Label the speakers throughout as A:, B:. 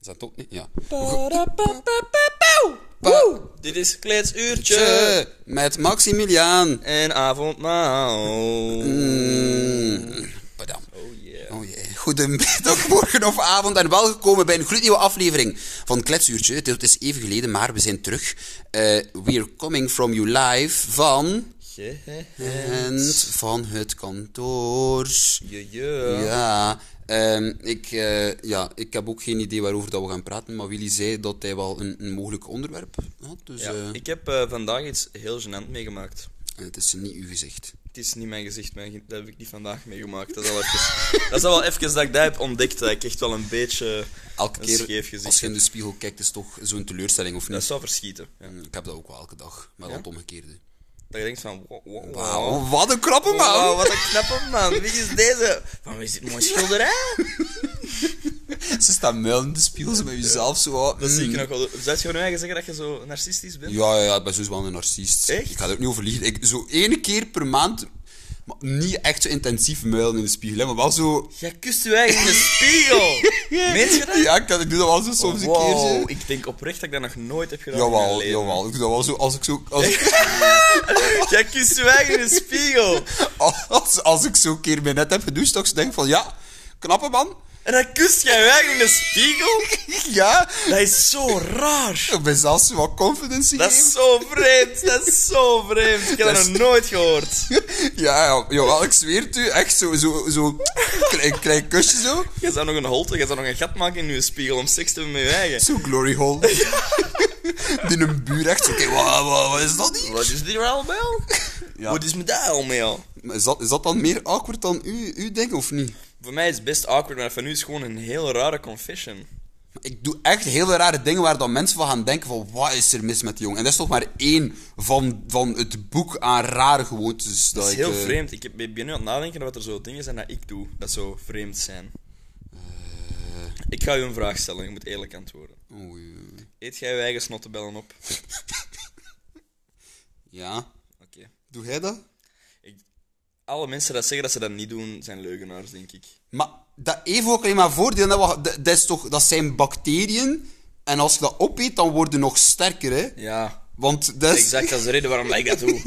A: Is dat ook niet? Ja.
B: Parapapapapauw. Woe! Dit is Kletsuurtje
A: Tje, met Maximiliaan.
B: en avondmaal.
A: Mm. Padam.
B: Oh yeah.
A: Oh jee. Goedemiddag, morgen of avond en welkom bij een gloednieuwe aflevering van Kletsuurtje. Het is even geleden, maar we zijn terug. Eh, we're coming from you live van...
B: Je,
A: Gent van het kantoor.
B: je,
A: Ja, ehm, ik, eh, ja, ik heb ook geen idee waarover dat we gaan praten, maar Willy zei dat hij wel een, een mogelijk onderwerp had. Dus
B: Ja,
A: eh,
B: ik heb eh, vandaag iets heel gênant meegemaakt.
A: het is niet uw gezicht.
B: Het is niet mijn gezicht, mijn, ge- dat heb ik niet vandaag meegemaakt. Dat is al even, dat is al wel even dat ik dat heb ontdekt, dat ik echt wel een beetje...
A: Elke
B: Een scheef
A: keer
B: gezicht.
A: als je in de spiegel kijkt, is toch zo'n teleurstelling of
B: Dat
A: niet?
B: eh, zou verschieten. Ja.
A: Ik heb dat ook wel elke dag, maar
B: Ja?
A: dat omgekeerde.
B: Dat je denkt van, wow, wow, wow.
A: Wauw, wat een krappe man!
B: Wauw, wat een knappe man. Wie is deze? Van wie is dit mooi schilderij?
A: Ze staan muil in de spiegel, ze met jezelf zo... ah,
B: Dat zie
A: mm.
B: ik nog wel. Zou je nu eigenlijk zeggen dat je zo narcistisch bent?
A: Ja, ja, ja, ik ben sowieso wel een narcist.
B: Echt?
A: Ik ga er ook niet over liegen. Ik, zo één keer per maand, maar niet echt zo intensief muilen in de spiegel, hè, maar wel zo...
B: Jij kust je eigen in de spiegel. Meent je dat?
A: Ja, ik, ik doe dat wel zo soms een keer.
B: Wow,
A: zo.
B: ik denk oprecht dat ik dat nog nooit heb gedaan in mijn
A: Jawel,
B: leven.
A: jawel. Ik doe dat wel zo als ik zo... Als, ik-
B: Jij kust je eigen in de spiegel.
A: als, als ik zo'n keer mijn net heb gedoucht, dat ik zo denk van, ja, knappe man.
B: En dan kust jij je eigen in de spiegel?
A: Ja,
B: Dat is zo raar.
A: ik ben zelfs zo wat confidence
B: Dat is zo vreemd. Dat is zo vreemd. Ik heb dat
A: Dat is-
B: nog nooit gehoord.
A: gegeven. Ja, ja, jawel, ik zweer het u. Echt zo, zo, zo klein, klein kusje zo.
B: Je zou nog een holte, je zou nog een gat maken in je spiegel om seks te hebben met je eigen.
A: Zo glory hole. Die een buur echt zo, oké, wat, wat, wat is dat niet?
B: Wat is die allemaal?
A: Ja.
B: Wat is me daar allemaal?
A: Maar Is dat, is dat dan meer awkward dan u, u denkt, of niet?
B: Voor mij is het best awkward, maar van nu is gewoon een heel rare confession.
A: Ik doe echt hele rare dingen waar dan mensen van gaan denken van wat is er mis met die jongen? En dat is toch maar één van, van het boek aan rare gewoontes.
B: Dat is
A: ik,
B: heel
A: eh,
B: vreemd. Ik heb- ben nu aan het nadenken wat er zo dingen zijn dat ik doe, dat zo vreemd zijn.
A: Eh.
B: Ik ga u een vraag stellen, je moet eerlijk antwoorden.
A: oei, oei.
B: Eet jij je eigen snottebellen op?
A: Ja,
B: Oké.
A: doe jij dat?
B: Alle mensen dat zeggen dat ze dat niet doen, zijn leugenaars, denk ik.
A: Maar dat heeft ook alleen maar voordeel. Dat, wa- dat, dat is toch, dat zijn bacteriën. En als je dat opeet, dan worden nog sterker, hè?
B: Ja,
A: Want dat is...
B: exact. Dat is de reden waarom dat ik dat doe.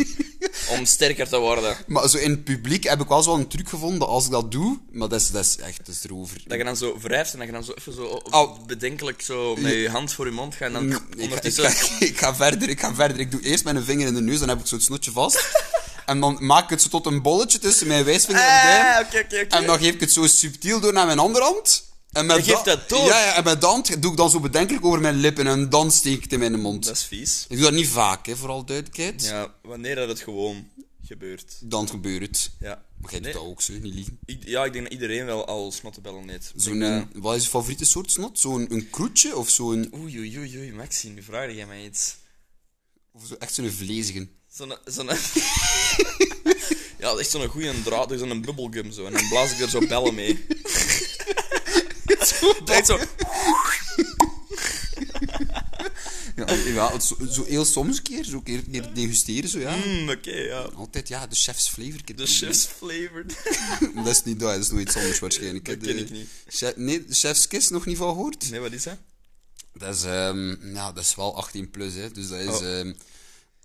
B: Om sterker te worden.
A: Maar zo in het publiek heb ik wel zo een truc gevonden dat als ik dat doe... Maar dat is, dat is echt, dat is erover.
B: Dat je dan zo wrijft en dat je dan zo even zo
A: Au.
B: bedenkelijk zo met je hand voor je mond gaat en dan
A: Mm, Ik ga, ik,
B: ondertussen...
A: ga, ik ga verder, ik ga verder. Ik doe eerst mijn vinger in de neus, dan heb ik zo het snotje vast. en dan maak ik het zo tot een bolletje tussen mijn wijsvinger en duim.
B: Ah, oké, oké, oké.
A: En dan geef ik het zo subtiel door naar mijn andere hand. En met
B: Je geeft dat door?
A: Ja, ja, en met de hand doe ik dan zo bedenkelijk over mijn lippen en dan steek ik het in mijn mond.
B: Dat is vies.
A: Ik doe dat niet vaak, hè, vooral duidelijkheid.
B: Ja, wanneer dat het gewoon gebeurt.
A: Dan gebeurt het.
B: Ja.
A: Maar jij
B: Nee,
A: doet dat ook, zo, niet liegen.
B: ik, ja, ik denk dat iedereen wel al snottebellen eet. Ik
A: Zo'n,
B: denk
A: eh, wat is je favoriete soort snot? Zo'n een kroetje of zo'n...
B: dat- Oei, oei, oei, oei, Maxi, nu vraag jij mij iets.
A: Of zo, echt zo'n vleesige.
B: Zo'n... zo'n ja, echt zo'n goede draad, dus zo'n bubblegum zo. En dan blaas ik er zo bellen mee. Echt zo...
A: Ja, ja zo, zo heel soms een keer, zo een keer, een keer degusteren, zo ja.
B: Mm, oké, ja.
A: Altijd, ja, de chef's flavor.
B: De chef's flavored.
A: Dat is niet dat, dat is nog iets anders waarschijnlijk. hè.
B: Dat
A: De
B: ken ik niet.
A: chef- nee, de chef's kiss nog niet van gehoord?
B: Nee, wat is dat?
A: Dat is, ehm, ja, dat is wel 18 plus, hè. Dus dat is...
B: Oh.
A: ehm,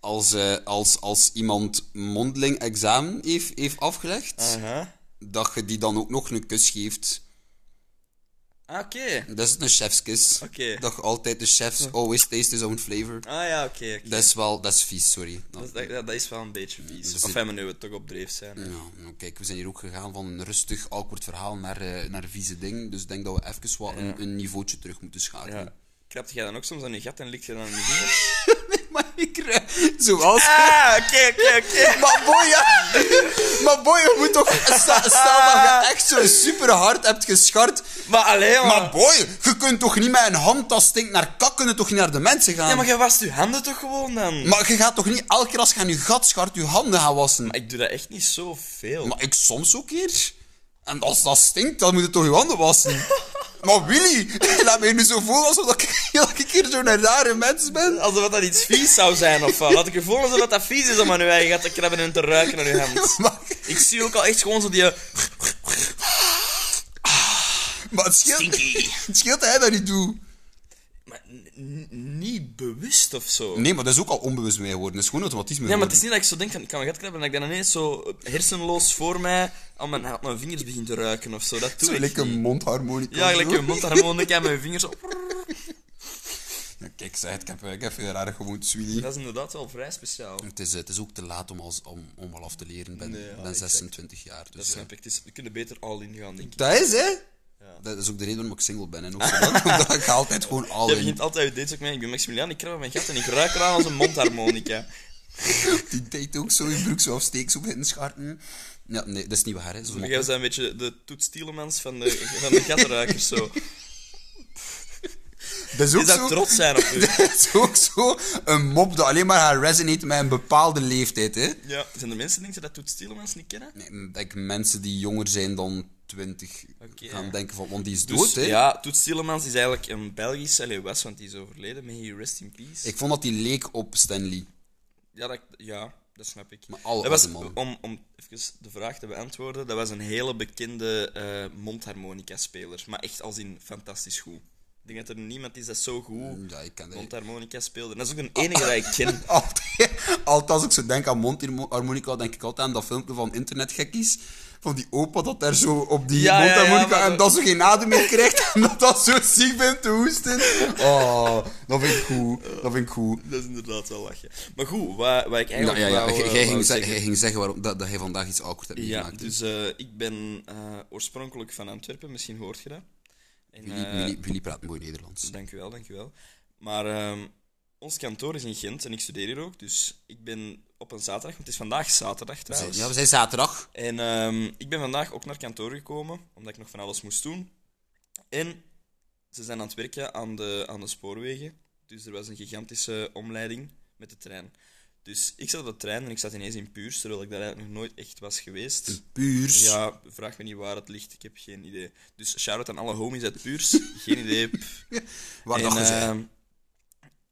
A: als, eh, als, als iemand mondeling examen heeft, heeft afgelegd,
B: Aha.
A: dat je die dan ook nog een kus geeft.
B: Ah, oké.
A: Dat is een chefskis.
B: Oké.
A: Dat je altijd de chefs always taste his own flavor.
B: Ah ja, oké, oké.
A: Dat is wel, dat is vies, sorry. Nou,
B: Dat, dat, dat is wel een beetje vies.
A: is-
B: Of hebben nu we toch op dreef zijn. hè.
A: Ja, nou, kijk, we zijn hier ook gegaan van een rustig, awkward verhaal naar, eh, naar vieze ding. Dus ik denk dat we even wat een, een niveautje terug moeten schakelen.
B: Ja. Ah, Krapte jij dan ook soms aan je gat en likt je dan aan je vingers?
A: Maar ik krijg- Zoals...
B: Ah, oké, oké, oké.
A: Maar boy, ja. Maar boy, je moet toch... Stel, stel dat je echt zo super hard hebt geschart.
B: Maar alleen maar.
A: Maar boy, je kunt toch niet met een hand dat stinkt naar kak, kunnen toch niet naar de mensen gaan?
B: ja, maar jij wast je handen toch gewoon dan?
A: Maar je gaat toch niet elke keer als je aan je gat schart, je handen gaan wassen?
B: ik doe dat echt niet zoveel.
A: Maar ik soms ook hier. En als dat stinkt, dan moet je toch je handen wassen. maar Willy, laat mij nu zo voelen alsof dat ik elke keer zo'n rare mens ben.
B: Alsof dat iets vies zou zijn of wat. Had ik gevoel alsof dat vies is om aan uw eigen gat te krabben en te ruiken aan uw hand.
A: Maar,
B: Ik zie ook al echt gewoon zo die... eh,
A: maar het scheelt,
B: Stinky.
A: het scheelt dat hij dat niet doet.
B: n- niet bewust of zo.
A: Nee, maar dat is ook al onbewust mee geworden. Dat is gewoon automatisme
B: Ja, maar het
A: geworden.
B: is niet dat ik zo denk van ik kan mijn gat krabben en dat ik dan ineens zo hersenloos voor mij aan mijn, aan mijn vingers begin te ruiken of zo. Dat doe
A: Zo
B: ik
A: lekker
B: niet.
A: mondharmonica.
B: Ja,
A: zo.
B: lekker een mondharmonica aan mijn vingers. zo.
A: Ja, kijk, zei het, ik heb, ik heb veel raar gewoond, Sweeney.
B: Dat is inderdaad wel vrij speciaal.
A: Het is, eh, het is ook te laat om, als, om, om al af te leren. Ik ben,
B: Nee, ja,
A: ben
B: exact.
A: 26 jaar. Dus,
B: Dat
A: eh,
B: snap ik. Het is- We kunnen beter all in gaan, denk ik.
A: Dat is, hè? Dat is ook de reden waarom ik single ben. En ook zo lang, omdat ik altijd gewoon al
B: Je
A: in
B: begint altijd uit dates ook mee. Ik ben Maximilian, ik krab aan mijn gat en ik ruik eraan als een mondharmonica.
A: Die deed ook zo in broek, zo afsteek, zo in scharten. Ja, nee, dat is niet waar, hè. Zo
B: Jij bent een beetje de Toet Stielemans van de, van de gattenruikers zo.
A: dat is ook
B: Is dat
A: zo...
B: trots zijn op u?
A: dat is ook zo een mop dat alleen maar haar resonate met een bepaalde leeftijd, hè.
B: Ja. Zijn er mensen die denken dat Toet Stielemans niet kennen?
A: Nee, dat mensen die jonger zijn dan 20
B: Oké.
A: gaan denken van, want die is
B: Dus,
A: dood, hè.
B: Ja, Toet Stielemans is eigenlijk een Belgisch, allee, was, want die is overleden. May he rest in peace.
A: Ik vond dat die leek op Stanley.
B: Ja, dat, ja, dat snap ik.
A: Maar alle
B: dat was,
A: oude mannen.
B: om, om even de vraag te beantwoorden, dat was een hele bekende eh mondharmonica-speler. Maar echt als in fantastisch goed. Ik denk dat er niemand is dat zo goed
A: Ja, ik ken dat.
B: mondharmonica speelde. En dat is ook de enige dat ik ken.
A: Altijd, altijd als ik zo denk aan mondharmonica, denk ik altijd aan dat filmpje van internetgekkies. Van die opa dat daar zo op die
B: Ja, ja, ja,
A: mondharmonica
B: maar
A: en
B: dat-
A: dat ze geen adem meer krijgt. En dat dat zo ziek bent te hoesten. Oh, dat vind ik goed. Dat vind ik goed.
B: Dat is inderdaad wel lachen. Maar goed, wat, wat ik
A: Ja,
B: eigenlijk
A: Nou ja, ja.
B: wou, eh,
A: Jij
B: wou
A: ging,
B: zeggen-
A: zeggen, ging zeggen waarom, dat, dat hij vandaag iets awkward hebt
B: Ja,
A: meegemaakt.
B: dus eh, ik ben eh, oorspronkelijk van Antwerpen, misschien hoort je dat. En,
A: Jullie,
B: eh,
A: jullie, jullie praten mooi Nederlands.
B: Dank u wel, dank u wel. Maar ehm, ons kantoor is in Gent en ik studeer hier ook, dus ik ben op een zaterdag, want het is vandaag zaterdag dus trouwens.
A: Ja, we zijn zaterdag.
B: En ehm, ik ben vandaag ook naar kantoor gekomen, omdat ik nog van alles moest doen. En ze zijn aan het werken aan de, aan de spoorwegen, dus er was een gigantische omleiding met de trein. Dus ik zat op de trein en ik zat ineens in Puurs, terwijl ik daar eigenlijk nog nooit echt was geweest.
A: Puurs.
B: Mm. Ja, vraag me niet waar het ligt, ik heb geen idee. Dus shout-out aan alle homies uit Puurs, geen idee. pff.
A: Waar
B: En,
A: Oh, dat je zei.
B: ehm,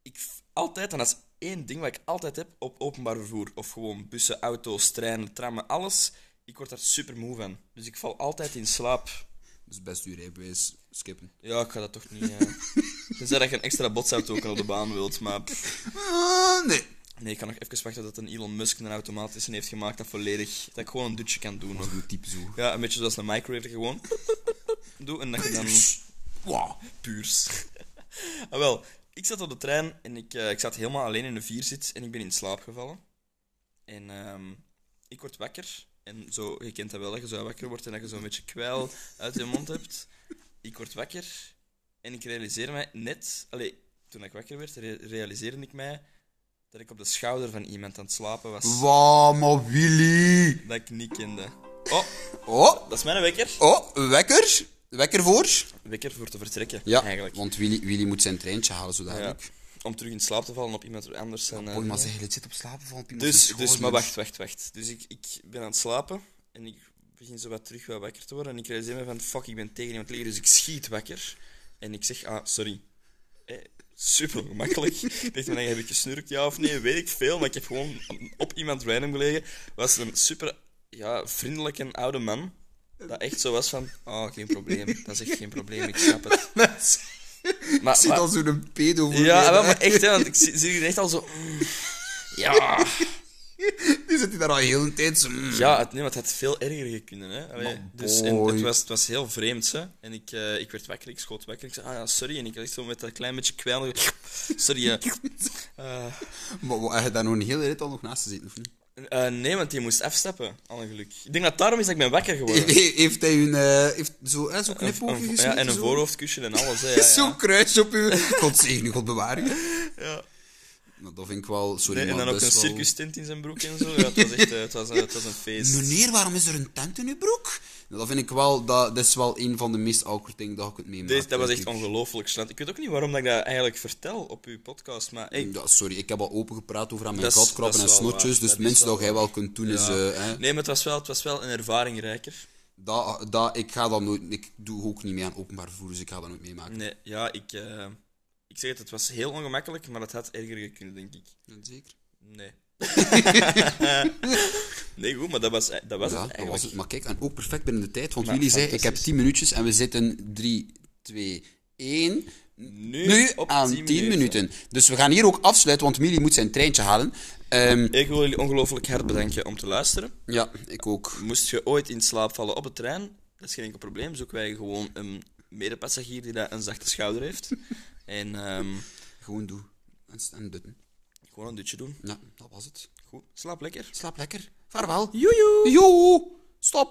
B: ik f- altijd, en dat is één ding wat ik altijd heb op openbaar vervoer, of gewoon bussen, auto's, treinen, trammen, alles. Ik word daar super moe van. Dus ik val altijd in slaap.
A: Dus best uw rijbewijs skippen.
B: Ja, ik ga dat toch niet. eh. Tenzij dat je een extra botsauto ook al op de baan wilt. Maar pff.
A: Ah, nee.
B: nee, ik kan nog even wachten tot een Elon Musk een automatische heeft gemaakt dat volledig. Dat ik gewoon een dutje kan doen.
A: Uw type zo.
B: Ja, een beetje zoals een microwave dat je gewoon. Doe en dat je dan.
A: Wow.
B: puurs. ah, wel, ik zat op de trein en ik, eh, ik zat helemaal alleen in de vierzit en ik ben in slaap gevallen. En ehm, ik word wakker. En zo, je kent dat wel, dat je zo wakker wordt en dat je zo'n beetje kwijl uit je mond hebt. Ik word wakker en ik realiseer mij net... Allee, toen ik wakker werd, re- realiseerde ik mij dat ik op de schouder van iemand aan het slapen was.
A: Wow, maar Willy.
B: Dat ik niet kende. Oh,
A: Oh,
B: dat is mijn wekker.
A: oh, wekker. Wekker voor.
B: Wekker voor te vertrekken,
A: Ja,
B: eigenlijk.
A: want Willy, Willy moet zijn treintje halen
B: Ja,
A: zodanig.
B: om terug in slaap te vallen op iemand anders. zijn.
A: Ja.
B: eh,
A: Mooi, maar Oh, zeggen, het zit op slapen van iemand
B: Dus,
A: zijn
B: dus, maar
A: schouders.
B: wacht, wacht, wacht. Dus ik, ik ben aan het slapen en ik begin zo wat terug wat wakker te worden. En ik realiseer me van, fuck, ik ben tegen iemand liggen, dus ik schiet wakker. En ik zeg, ah, sorry. Eh, super gemakkelijk. ik dacht, van, heb ik gesnurkt, ja of nee, weet ik veel. Maar ik heb gewoon op iemand random gelegen. was een super ja, vriendelijke oude man. Dat echt zo was van, oh, geen probleem. Dat is echt geen probleem, ik snap het. Maar,
A: Ik zit
B: maar-
A: al zo'n pedo voor
B: ja,
A: mij,
B: wel,
A: hè.
B: maar echt, hè, want ik zie, zie je echt al zo... mm, ja...
A: Die zit hier daar al heel een tijd zo... mm.
B: Ja, het, nee, maar het had veel erger kunnen. Hè? Allee,
A: Maar
B: dus, en
A: boy.
B: het, was, het was heel vreemd. Hè? En ik, eh, ik werd wakker, ik schoot wakker. Ik zei, ah ja, sorry. En ik had echt zo met dat klein beetje kwijlen. Sorry. eh. Eh,
A: Maar wat, heb je daar nog een hele rit al nog naast te zitten, of niet?
B: eh, nee, want die moest afstappen, al een geluk. Ik denk dat daarom is dat ik ben wakker geworden.
A: He- he- heeft hij een... eh, heeft zo, eh, zo'n
B: Een-
A: knipoogje
B: een-
A: gesmeten?
B: ja, en een
A: zo?
B: voorhoofdkusje en alles. Hè, ja, ja.
A: Zo'n kruis op u. God zegen u, God bewaren.
B: Ja.
A: Nou, dat vind ik wel... Sorry,
B: Nee, en
A: maar
B: dan ook
A: dat
B: een
A: is wel-
B: circus tent in zijn broek en zo. Ja, het was echt eh, het was, een- het was een feest.
A: Meneer, waarom is er een tent in uw broek? Nou, dat vind ik wel... Dat, dat is wel een van de meest awkward dingen dat je kunt meemaken.
B: Deze, dat was
A: denk
B: echt
A: ik.
B: ongelooflijk slant. Ik weet ook niet waarom dat ik dat eigenlijk vertel op uw podcast, maar hey,
A: Ja, sorry, ik heb al open gepraat over aan mijn
B: Dat is-
A: katkrappen
B: dat
A: en
B: is wel
A: snotjes. Dus
B: waar. Dat
A: het
B: is
A: minste
B: wel
A: dat jij wel kunt doen is.
B: Ja.
A: eh, hè,
B: Nee, maar het was wel, het was wel een ervaringrijker.
A: dat, dat, ik ga dat nooit. Ik doe ook niet mee aan openbaar vervoer, dus ik ga dat nooit meemaken.
B: Nee, ja, ik, eh, ik zeg het, het was heel ongemakkelijk, maar het had erger gekund, denk ik.
A: Zeker.
B: Nee. nee, goed, maar dat was, eh, dat was
A: Ja, dat was
B: het eigenlijk.
A: het. Maar kijk, en ook perfect binnen de tijd. Want
B: Maar
A: jullie zei: ik heb
B: fantastisch.
A: 10 minuutjes en we zitten 3, 2, 1.
B: Nu,
A: Nu
B: op
A: aan 10 minuten. Dus we gaan hier ook afsluiten, want Mili moet zijn treintje halen. Ehm,
B: Ik wil jullie ongelooflijk hard bedanken om te luisteren.
A: ja, ik ook.
B: Moest je ooit in slaap vallen op de trein, dat is geen enkel probleem. Zoeken wij gewoon een medepassagier die daar een zachte schouder heeft. en ehm,
A: Gewoon doe. En, en dutten.
B: gewoon een dutje doen.
A: Ja, dat was het.
B: Goed, slaap lekker.
A: Slaap lekker. Vaarwel.
B: Joejoe!
A: Joe. Stop.